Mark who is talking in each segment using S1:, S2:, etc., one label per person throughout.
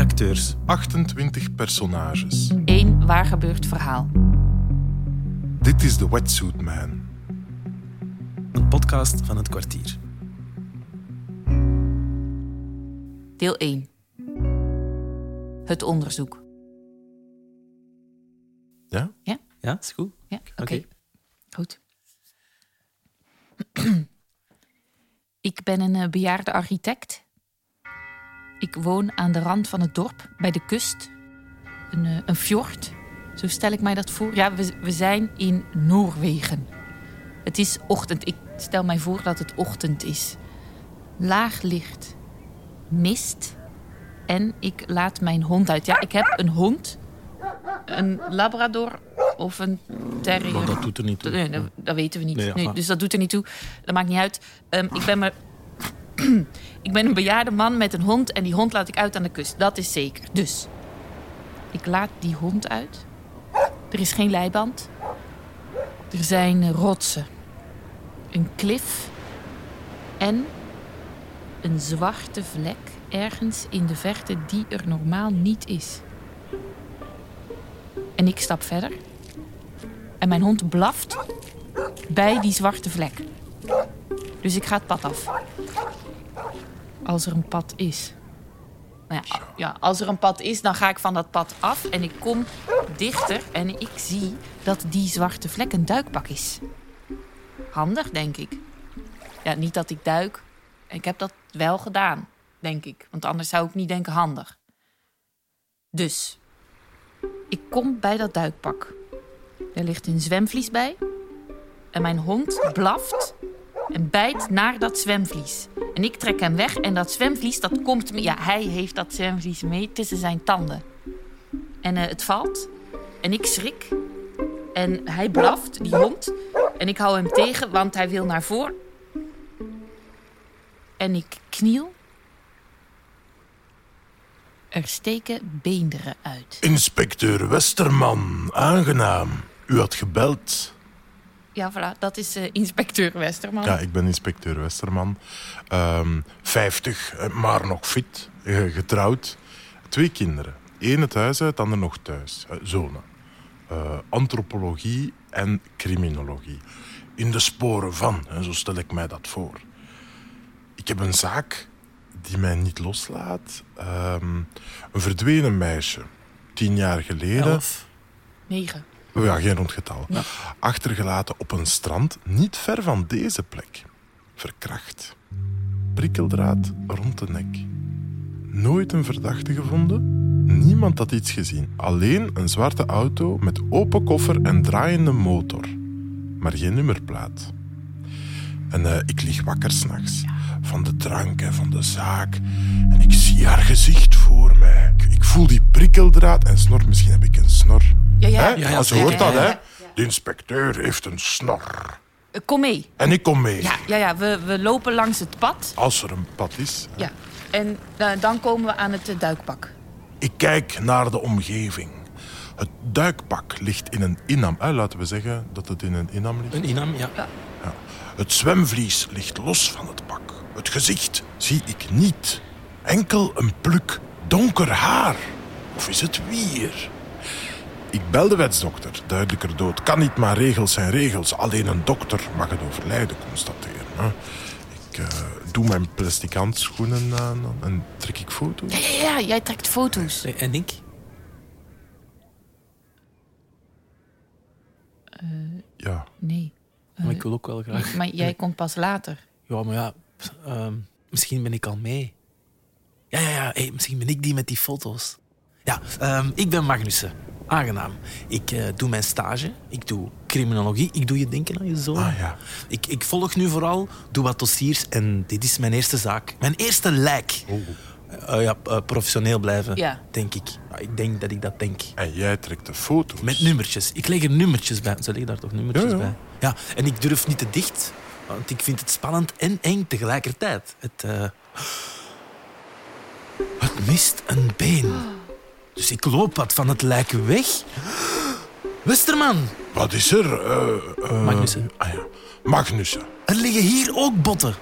S1: acteurs?
S2: 28 personages.
S3: Eén waar gebeurd verhaal.
S2: Dit is de Wetsuit Man.
S1: Een podcast van het kwartier.
S3: Deel 1. Het onderzoek.
S2: Ja?
S1: Ja, is goed.
S3: Ja, oké.
S1: Oké.
S3: Goed. ik ben een eh, bejaarde architect. Ik woon aan de rand van het dorp, bij de kust. Een, eh, een fjord, zo stel ik mij dat voor. Ja, we, we zijn in Noorwegen. Het is ochtend. Ik stel mij voor dat het ochtend is. Laag licht, mist en ik laat mijn hond uit. Ja, ik heb een hond, een labrador of een terrier.
S2: Maar dat doet er niet toe.
S3: Nee, dat, dat weten we niet.
S2: Nee, ja.
S3: Nee,
S2: Ah.
S3: dus dat doet er niet toe. Dat maakt niet uit. Ehm, ik ben maar. ik ben een bejaarde man met een hond en die hond laat ik uit aan de kust. Dat is zeker. Dus ik laat die hond uit. Er is geen leiband. Er zijn eh, rotsen. Een klif. En een zwarte vlek ergens in de verte die er normaal niet is. En ik stap verder. En mijn hond blaft bij die zwarte vlek. Dus ik ga het pad af. Als er een pad is. Nou ja, a- ja, als er een pad is, dan ga ik van dat pad af en ik kom dichter en ik zie dat die zwarte vlek een duikpak is. Handig, denk ik. Ja, niet dat ik duik. Ik heb dat wel gedaan, denk ik. Want anders zou ik niet denken handig. Dus, ik kom bij dat duikpak. Er ligt een zwemvlies bij. En mijn hond blaft en bijt naar dat zwemvlies. En ik trek hem weg en dat zwemvlies, dat komt... me- Ja, hij heeft dat zwemvlies mee tussen zijn tanden. En eh, het valt. En ik schrik. En hij blaft, die hond. En ik hou hem tegen, want hij wil naar voren. En ik kniel. Er steken beenderen uit.
S2: Inspecteur Westerman, aangenaam. U had gebeld.
S3: Ja, voilà, dat is eh, inspecteur Westerman.
S2: Ja, ik ben inspecteur Westerman. Ehm 50, eh, maar nog fit. eh, Getrouwd. Twee kinderen. Eén het huis uit, ander nog thuis. Eh, Zonen. Eh, antropologie en criminologie. In de sporen van, hè, zo stel ik mij dat voor. Ik heb een zaak die mij niet loslaat. Ehm, een verdwenen meisje. Tien jaar geleden.
S1: Elf.
S3: Negen.
S2: Ja, geen rond getal. Achtergelaten op een strand niet ver van deze plek. Verkracht. Prikkeldraad rond de nek. Nooit een verdachte gevonden. Niemand had iets gezien. Alleen een zwarte auto met open koffer en draaiende motor. Maar geen nummerplaat. En eh, ik lig wakker s'nachts. Van de drank en van de zaak. En ik zie haar gezicht voor mij. Ik, ik voel die prikkeldraad en snor. Misschien heb ik een snor.
S3: Ja, ja.
S2: Hè?
S3: Ja,
S1: ja,
S2: Als je
S1: zeker.
S2: hoort dat,
S3: Ja,
S2: hè?
S3: ja,
S2: De inspecteur heeft een snor.
S3: Eh, kom mee.
S2: En ik kom mee.
S3: Ja, ja, ja we, we lopen langs het pad.
S2: Als er een pad is.
S3: Ja. En eh, dan komen we aan het eh, duikpak.
S2: Ik kijk naar de omgeving. Het duikpak ligt in een inam. Eh, laten we zeggen dat het in een inam ligt.
S1: Een inam, ja.
S2: Ja. Het zwemvlies ligt los van het pak. Het gezicht zie ik niet. Enkel een pluk donker haar. Of is het wier? Ik bel de wetsdokter, duidelijker dood. Kan niet, maar regels zijn regels. Alleen een dokter mag het overlijden constateren. hè. Ik eh, doe mijn plastic handschoenen aan en trek ik foto's.
S3: Ja, ja, jij trekt foto's.
S1: Nee, En ik?
S2: Ja,
S3: Nee.
S1: Maar ik wil ook wel graag.
S3: Maar jij komt pas later.
S1: Ja, maar ja, ehm, misschien ben ik al mee. Ja, ja, ja, hey, misschien ben ik die met die foto's. Ja, ehm, ik ben Magnussen. Aangenaam. Ik eh, doe mijn stage, ik doe criminologie, ik doe je denken aan je zoon.
S2: Ah, ja.
S1: ik, ik volg nu vooral, doe wat dossiers en dit is mijn eerste zaak. Mijn eerste lijk.
S2: Oh.
S1: Eh, ja, eh, professioneel blijven,
S3: Ja.
S1: denk ik. Ja, ik denk dat ik dat denk.
S2: en jij trekt de foto's.
S1: Met nummertjes. Ik leg er nummertjes bij. Ze liggen daar toch nummertjes
S2: Ja, ja.
S1: bij? Ja, en ik durf niet te dicht, want ik vind het spannend en eng tegelijkertijd. Het, eh, het mist een been. Dus ik loop wat van het lijk weg. Westerman,
S2: Wat is er? Eh, eh,
S1: Magnussen.
S2: Ah, ja. Magnussen.
S1: er liggen hier ook botten.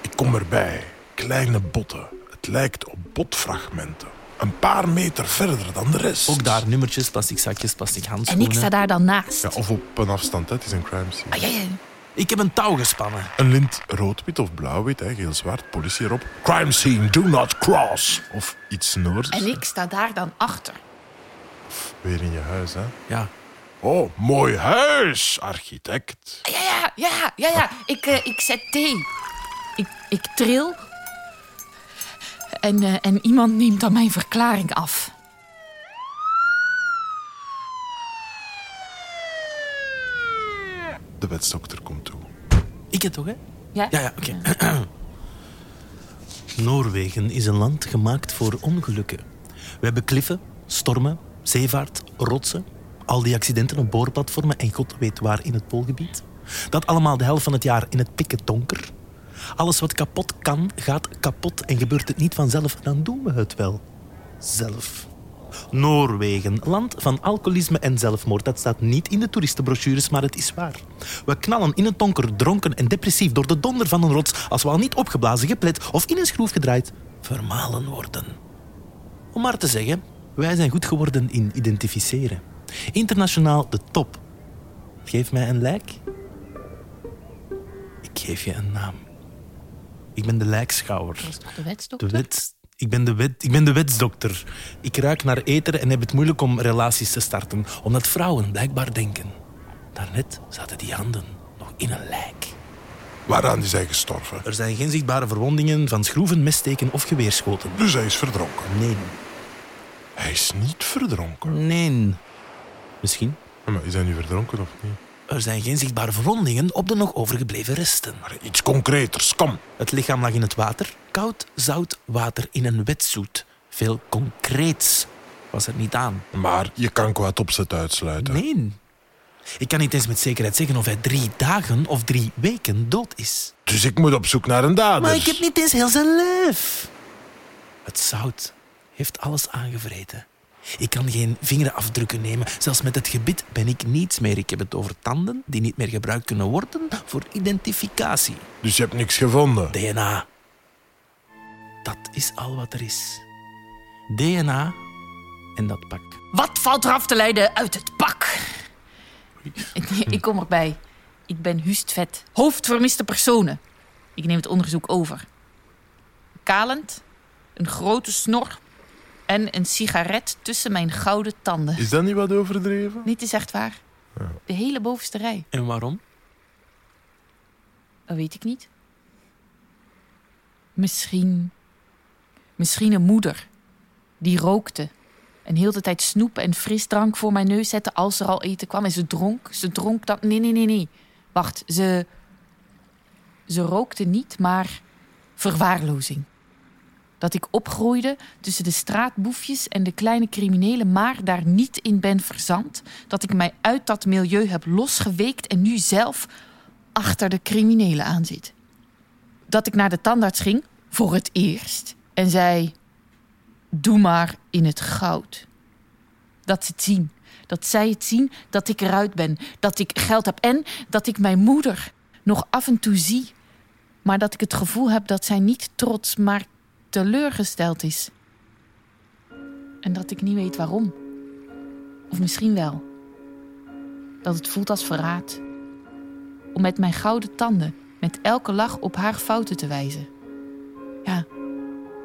S2: Ik kom erbij. Kleine botten. Het lijkt op botfragmenten. Een paar meter verder dan de rest.
S1: Ook daar nummertjes, plastic zakjes, plastic
S3: En
S1: handschoenen.
S3: ik sta daar dan naast.
S2: Ja, of op een afstand, hè. het is een crime scene.
S3: Ah, ja, ja.
S1: Ik heb een touw gespannen.
S2: Een lint rood-wit of blauw-wit, hè, geel-zwart, politie erop. Crime scene, do not cross. Of iets Noors.
S3: En ik sta daar dan achter.
S2: Weer in je huis, hè.
S1: Ja,
S2: Oh, mooi huis, architect.
S3: Ah, Ja, ja, ja, ja, ja. Ik, eh, ik zet thee. Ik, ik tril. En, eh, en iemand neemt dan mijn verklaring af.
S2: De wetsdokter komt toe.
S1: ik het toch, hè?
S3: Ja?
S1: Ja, ja, oké. Noorwegen is een land gemaakt voor ongelukken. We hebben kliffen, stormen, zeevaart, rotsen. Al die accidenten op boorplatformen en god weet waar in het Poolgebied. Dat allemaal de helft van het jaar in het pikken donker. Alles wat kapot kan, gaat kapot en gebeurt het niet vanzelf, dan doen we het wel. Zelf. Noorwegen, land van alcoholisme en zelfmoord. Dat staat niet in de toeristenbrochures, maar het is waar. We knallen in het donker, dronken en depressief door de donder van een rots als we al niet opgeblazen, geplet of in een schroef gedraaid vermalen worden. Om maar te zeggen, wij zijn goed geworden in identificeren. Internationaal de top. Geef mij een lijk. Ik geef je een naam. Ik ben de lijkschouwer.
S3: Dat is toch
S1: De
S3: de wetsdokter?
S1: wet, ik, ben de wet, ik ben de wetsdokter. Ik ruik naar eten en heb het moeilijk om relaties te starten. Omdat vrouwen blijkbaar denken. Daarnet zaten die handen nog in een lijk.
S2: Waaraan is hij gestorven?
S1: Er zijn geen zichtbare verwondingen van schroeven, messteken of geweerschoten.
S2: Dus hij is verdronken.
S1: Nee.
S2: Hij is niet verdronken.
S1: Nee. Misschien.
S2: Ja, Maar is hij nu verdronken of niet?
S1: Er zijn geen zichtbare verwondingen op de nog overgebleven resten.
S2: Allee, iets concreters, kom.
S1: Het lichaam lag in het water. Koud, zout water in een wetsuit. Veel concreets was er niet aan.
S2: Maar je kan qua opzet uitsluiten.
S1: Nee. Ik kan niet eens met zekerheid zeggen of hij drie dagen of drie weken dood is.
S2: Dus ik moet op zoek naar een dader.
S1: Maar ik heb niet eens heel zijn lijf. Het zout heeft alles aangevreten. Ik kan geen vingerafdrukken nemen. Zelfs met het gebit ben ik niets meer. Ik heb het over tanden die niet meer gebruikt kunnen worden voor identificatie.
S2: Dus je hebt niks gevonden.
S1: DNA. Dat is al wat er is. DNA en dat pak.
S3: Wat valt er af te leiden uit het pak? Ik, ik kom erbij. Ik ben Huust Vet, hoofd vermiste personen. Ik neem het onderzoek over. Kalend, een grote snor en een sigaret tussen mijn gouden tanden.
S2: Is dat niet wat overdreven?
S3: Niet is echt waar. De hele bovenste rij.
S1: En waarom?
S3: Dat weet ik niet. Misschien. Misschien een moeder. Die rookte. En heel de tijd snoep en frisdrank voor mijn neus zette als er al eten kwam. En ze dronk. Ze dronk dat. Nee, nee, nee, nee. Wacht, ze. Ze rookte niet, maar verwaarlozing. Dat ik opgroeide tussen de straatboefjes en de kleine criminelen, maar daar niet in ben verzand. Dat ik mij uit dat milieu heb losgeweekt en nu zelf achter de criminelen aan zit. Dat ik naar de tandarts ging, voor het eerst, en zei: Doe maar in het goud. Dat ze het zien. Dat zij het zien dat ik eruit ben. Dat ik geld heb en dat ik mijn moeder nog af en toe zie. Maar dat ik het gevoel heb dat zij niet trots, maar teleurgesteld is. En dat ik niet weet waarom. Of misschien wel. Dat het voelt als verraad om met mijn gouden tanden met elke lach op haar fouten te wijzen. Ja,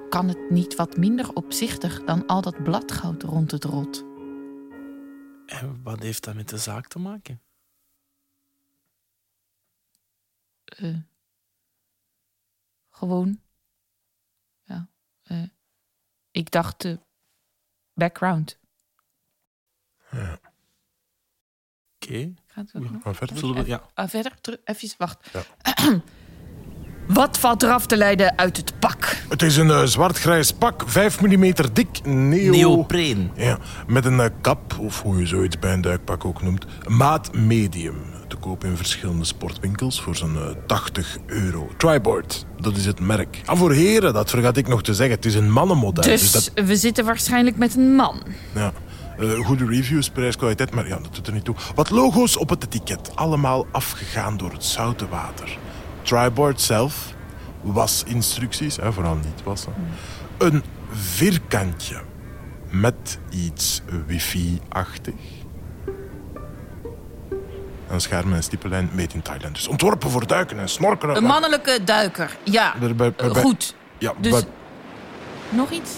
S3: kan het niet wat minder opzichtig dan al dat bladgoud rond het rot?
S1: En wat heeft dat met de zaak te maken?
S3: Eh, gewoon. Ja, eh, ik dacht eh, background.
S1: Oké.
S3: Gaat het ook nog?
S2: Maar verder?
S1: Zullen we- ja.
S3: Ah, verder? Teru- Even wacht.
S2: Ja.
S3: Wat valt eraf te leiden uit het pak?
S2: Het is een eh, zwart-grijs pak, 5 mm dik, neo...
S1: Neopreen.
S2: Ja, met een eh, kap, of hoe je zoiets bij een duikpak ook noemt, maat medium. Te koop in verschillende sportwinkels voor zo'n eh, 80 euro. Triboard, dat is het merk. Ah, voor heren, dat vergat ik nog te zeggen. Het is een mannenmodel.
S3: Dus
S2: dat,
S3: we zitten waarschijnlijk met een man.
S2: ja, Eh, goede reviews, prijs, kwaliteit, maar ja, dat doet er niet toe. Wat logo's op het etiket, allemaal afgegaan door het zoute water. Triboard zelf,
S3: Mm.
S2: wasinstructies, hè, vooral niet wassen. Een vierkantje met iets wifi-achtig. Een scherm en een stippenlijn meet in Thailand. Dus ontworpen voor duiken en snorkelen.
S3: Een mannelijke duiker, ja.
S2: Bij- bij- bij-
S3: Eh,
S2: bij-
S3: Goed.
S2: Ja,
S3: Dus-
S2: wat-
S3: Nog iets?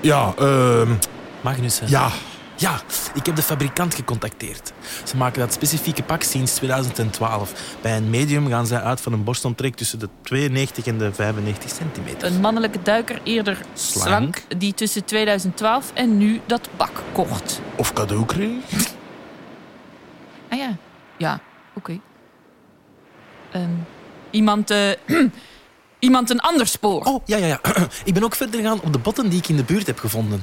S2: ja, ehm,
S1: Magnussen.
S2: ja.
S1: Ja, ik heb de fabrikant gecontacteerd. Ze maken dat specifieke pak sinds 2012. Bij een medium gaan zij uit van een borstomtrek tussen de 92 en de 95 centimeter.
S3: Een mannelijke duiker eerder
S1: Slank.
S3: slank, die tussen 2012 en nu dat pak kocht.
S2: Of cadeau kreeg.
S3: Ah ja, ja, oké. Ehm, iemand, eh, iemand een ander spoor.
S1: Oh, ja, ja, ja. ik ben ook verder gegaan op de botten die ik in de buurt heb gevonden.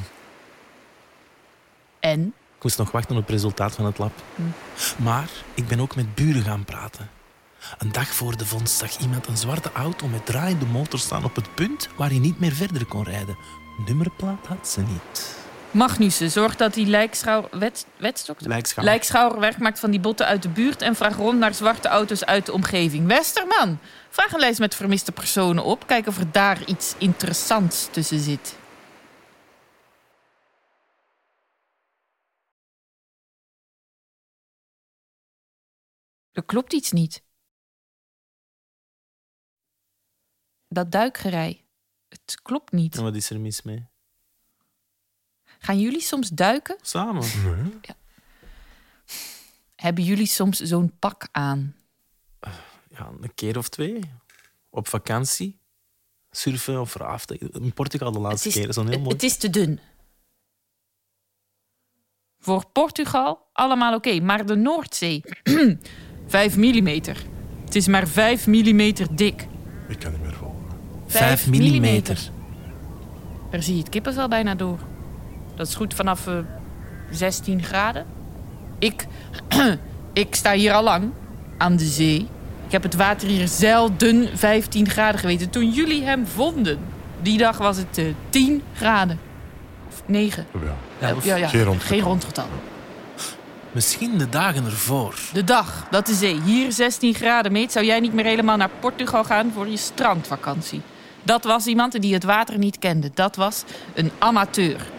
S3: En?
S1: Ik moest nog wachten op het resultaat van het lab.
S3: Hm.
S1: Maar ik ben ook met buren gaan praten. Een dag voor de vondst zag iemand een zwarte auto met draaiende motor staan op het punt waar hij niet meer verder kon rijden. Nummerplaat had ze niet.
S3: Magnussen, zorg dat die lijkschouwer, wet, wetstok?
S1: Lijkschouw.
S3: lijkschouwer werk maakt van die botten uit de buurt... en vraag rond naar zwarte auto's uit de omgeving. Westerman, vraag een lijst met vermiste personen op. Kijk of er daar iets interessants tussen zit. Er klopt iets niet. Dat duikgerei. Het klopt niet.
S1: En wat is er mis mee?
S3: Gaan jullie soms duiken?
S1: Samen.
S2: Nee.
S3: Hebben jullie soms zo'n pak aan?
S1: Ja, een keer of twee. Op vakantie. Surfen of raften. In Portugal de laatste keer. Dat is een heel
S3: het-
S1: mooi...
S3: het is te dun. Voor Portugal allemaal oké, maar de Noordzee. 5 mm. Het is maar 5 mm dik.
S2: Ik kan niet meer volgen.
S3: vijf
S1: millimeter.
S3: Daar zie je het kippenvel bijna door. Dat is goed vanaf eh, 16 graden. Ik, ik sta hier al lang aan de zee. Ik heb het water hier zelden 15 graden geweten. Toen jullie hem vonden, die dag was het eh, 10 graden. Of 9.
S2: Ja.
S1: Ja, of
S3: ja, ja.
S2: geen rond
S3: geen rondgetal.
S1: Misschien de dagen ervoor.
S3: De dag dat de zee hier 16 graden meet, zou jij niet meer helemaal naar Portugal gaan voor je strandvakantie. Dat was iemand die het water niet kende. Dat was een amateur.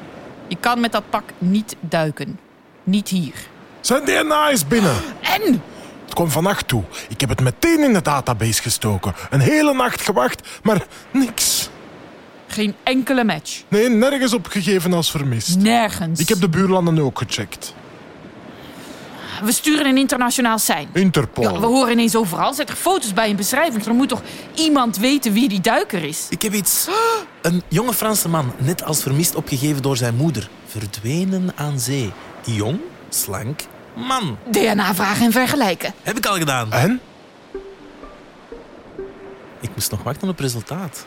S3: Je kan met dat pak niet duiken. Niet hier.
S2: Zijn DNA is binnen.
S3: En
S2: Het kwam vannacht toe. Ik heb het meteen in de database gestoken. Een hele nacht gewacht, maar niks.
S3: geen enkele match.
S2: Nee, nergens opgegeven als vermist.
S3: Nergens.
S2: Ik heb de buurlanden ook gecheckt.
S3: We sturen een internationaal sein. Ja, we
S2: Interpol.
S3: horen ineens overal. Zet er foto's bij een beschrijving. Er moet toch iemand weten wie die duiker is?
S1: Ik heb iets. Een jonge Franse man, net als vermist opgegeven door zijn moeder. Verdwenen aan zee. Jong, slank, man.
S3: DNA vragen en vergelijken.
S1: Heb ik al gedaan.
S2: En?
S1: Ah, Ik moest nog wachten op het resultaat.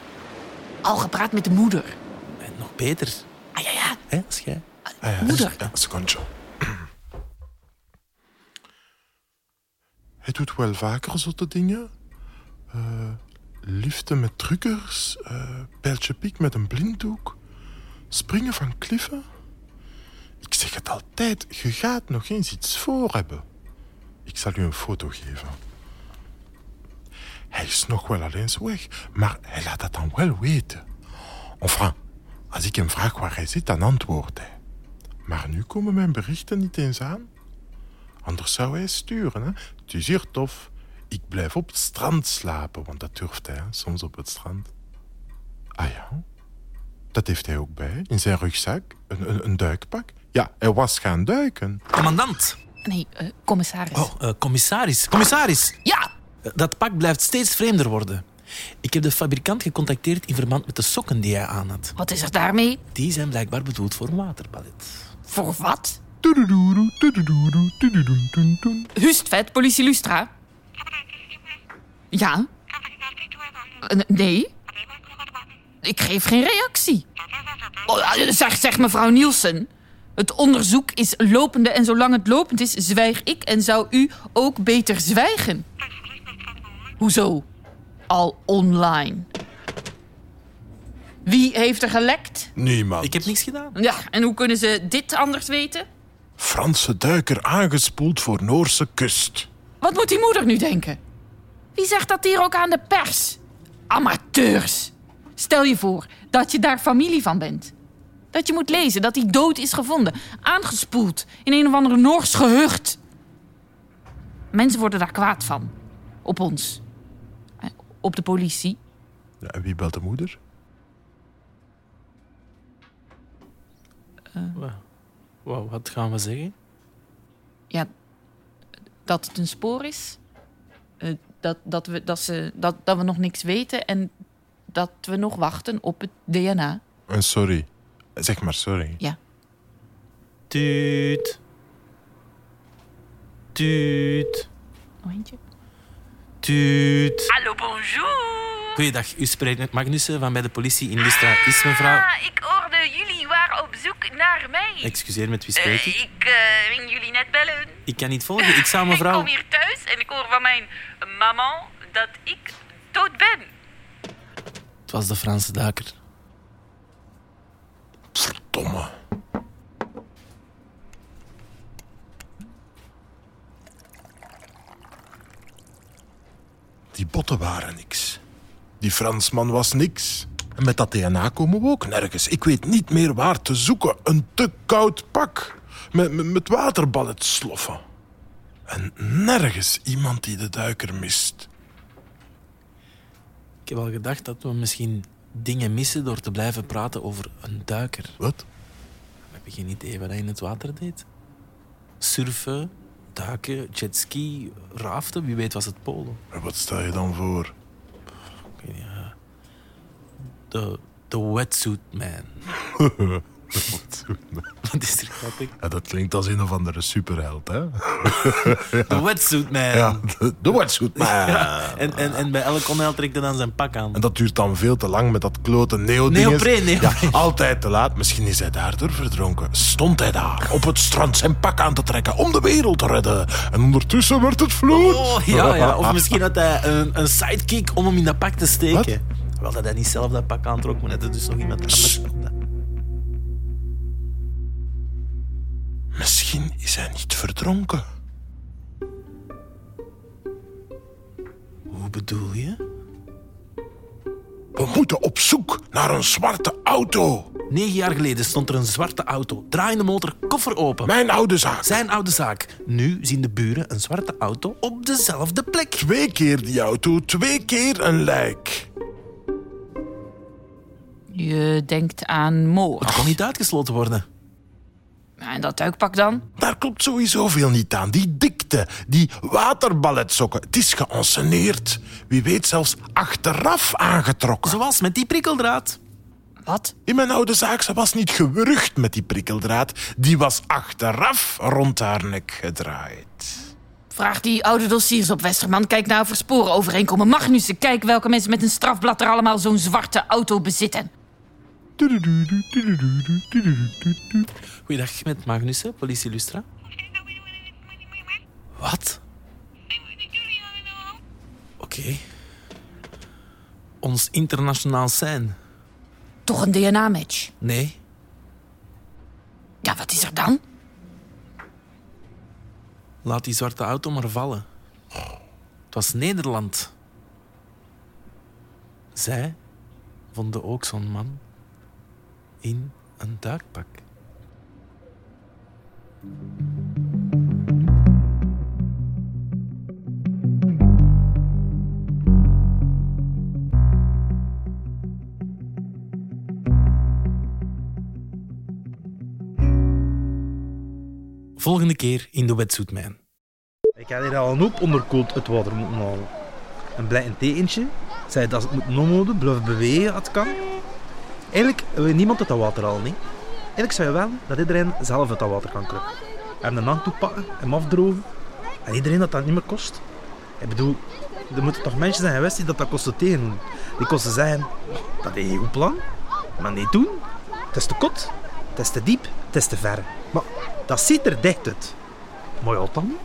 S3: Al gepraat met de moeder.
S1: En nog beter,
S3: Ah ja, ja.
S1: hè, als jij.
S2: Ah ja,
S3: Moeder.
S2: Ja, secondje. Hij doet wel vaker zotte dingen. Eh, liefde met truckers. eh pijltje piek met een blinddoek. Springen van kliffen. Ik zeg het altijd, je gaat nog eens iets voor hebben. Ik zal u een foto geven. Hij is nog wel alleen weg, maar hij laat dat dan wel weten. Enfin, als ik hem vraag waar hij zit, dan antwoordt hij. Maar nu komen mijn berichten niet eens aan. Anders zou hij sturen. Hè? Het is hier tof. Ik blijf op het strand slapen, want dat durft hij hè, soms op het strand. Ah ja, dat heeft hij ook bij. In zijn rugzak, een, een, een duikpak. Ja, hij was gaan duiken.
S1: Commandant.
S3: Nee, eh, commissaris.
S1: Oh, eh, commissaris. Commissaris.
S3: Ja,
S1: Dat pak blijft steeds vreemder worden. Ik heb de fabrikant gecontacteerd in verband met de sokken die hij aan had.
S3: wat is er daarmee?
S1: Die zijn blijkbaar bedoeld voor een waterpalet.
S3: Voor wat?
S2: Toededoedoe, toededoedoe, toededoen, doen, doen.
S3: Hustvet, politie Lustra. Ja? Eh, Nee. Ik geef geen reactie. Oh, eh, zeg, zeg mevrouw Nielsen. Het onderzoek is lopende en zolang het lopend is, zwijg ik en zou u ook beter zwijgen. Hoezo? Al online. Wie heeft er gelekt?
S2: Niemand.
S1: Ik heb niks gedaan.
S3: Ja, en hoe kunnen ze dit anders weten?
S2: Franse duiker aangespoeld voor Noorse kust.
S3: Wat moet die moeder nu denken? Wie zegt dat hier ook aan de pers? Amateurs! Stel je voor dat je daar familie van bent. Dat je moet lezen dat hij dood is gevonden. Aangespoeld in een of andere Noors gehucht. Mensen worden daar kwaad van. Op ons. Eh, Op de politie.
S2: Ja, en wie belt de moeder?
S1: Wa- Wauw, wat gaan we zeggen?
S3: Ja, dat het een spoor is. Eh, dat, dat, we, dat, ze, dat, dat we nog niks weten. En dat we nog wachten op het DNA.
S2: Een Eh, sorry. Zeg maar sorry.
S1: Tuut. Tuut.
S3: Oh, eentje.
S1: Tuut.
S4: Hallo, bonjour.
S1: Goeiedag, u spreekt met Magnussen van bij de politie in Listra. Is mevrouw...
S4: Ah, ik hoorde jullie waren op zoek naar mij.
S1: Excuseer, met wie
S4: Eh,
S1: spreekt u?
S4: ik eh, ging jullie net bellen.
S1: Ik kan niet volgen. Ik zou mevrouw...
S4: Ik kom hier thuis en ik hoor van mijn mama dat ik dood ben.
S1: Het was de Franse duiker.
S2: Verdomme. Die botten waren niks. Die Fransman was niks. En met dat DNA komen we ook nergens. Ik weet niet meer waar te zoeken. Een te koud pak. Met, met, met waterballet sloffen. En nergens iemand die de duiker mist.
S1: Ik heb al gedacht dat we misschien dingen missen door te blijven praten over een duiker.
S2: Wat?
S1: Heb je geen idee wat hij in het water deed? Surfen, duiken, jetski, raften, wie weet was het polo.
S2: En wat stel je dan voor?
S1: Ik weet niet, eh, De, de wetsuit man. Wat is er grappig?
S2: Ja, dat klinkt als een of andere superheld, hè?
S1: De wetsuit man.
S2: Ja, de, de wetsuit man.
S1: En, en, en bij elk onheil trekt hij dan zijn pak aan.
S2: En dat duurt dan veel te lang met dat klote neo
S1: Neopreen, neopreen.
S2: Ja, altijd te laat. Misschien is hij daardoor verdronken. Stond hij daar, op het strand zijn pak aan te trekken om de wereld te redden. En ondertussen werd het vloed.
S1: Oh, ja, ja. Of misschien had hij een, een sidekick om hem in dat pak te steken. Wel dat hij niet zelf dat pak aantrok, maar dat er dus nog iemand anders...
S2: Sst. Misschien is hij niet verdronken.
S1: Hoe bedoel je?
S2: We moeten op zoek naar een zwarte auto.
S1: Negen jaar geleden stond er een zwarte auto, draaiende motor, koffer open.
S2: Mijn oude zaak.
S1: Zijn oude zaak. Nu zien de buren een zwarte auto op dezelfde plek.
S2: Twee keer die auto, twee keer een lijk.
S3: Je denkt aan moord.
S1: Het kon niet uitgesloten worden.
S3: En dat duikpak dan?
S2: Daar klopt sowieso veel niet aan. Die dikte, die waterballetsokken, het is geanceneerd. Wie weet zelfs achteraf aangetrokken.
S1: Zoals met die prikkeldraad.
S3: Wat?
S2: In mijn oude zaak, ze was niet gewurgd met die prikkeldraad. Die was achteraf rond haar nek gedraaid.
S3: Vraag die oude dossiers op Westerman. Kijk nou of er sporen overeenkomen. Magnussen, kijk welke mensen met een strafblad er allemaal zo'n zwarte auto bezitten.
S1: Goeiedag, met Magnussen, politie Lustra. Wat? Oké. Ons internationaal zijn.
S3: Toch een DNA-match.
S1: Nee.
S3: Ja, wat is er dan?
S1: Laat die zwarte auto maar vallen. Het was Nederland. Zij vonden ook zo'n man in een duikpak. Volgende keer in de Wetsuit Man.
S5: Ik had hier al een hoop onderkoeld het water moeten halen. Een blij een teentje. Zei dat ze het moet omhouden, blijf bewegen als het kan. Eigenlijk wil niemand het dat water halen. hè. Eigenlijk zou je wel dat iedereen zelf het dat water kan kruipen. Hem de hand pakken, hem afdrogen. En iedereen dat dat niet meer kost. Ik bedoel, er moeten toch mensen zijn geweest die dat, dat kosten tegen doen. Die kosten zeggen, dat is een goed plan, maar niet doen. Het is te kot, het is te diep, het is te ver. Maar dat ziet er dicht uit. Mooi al dan.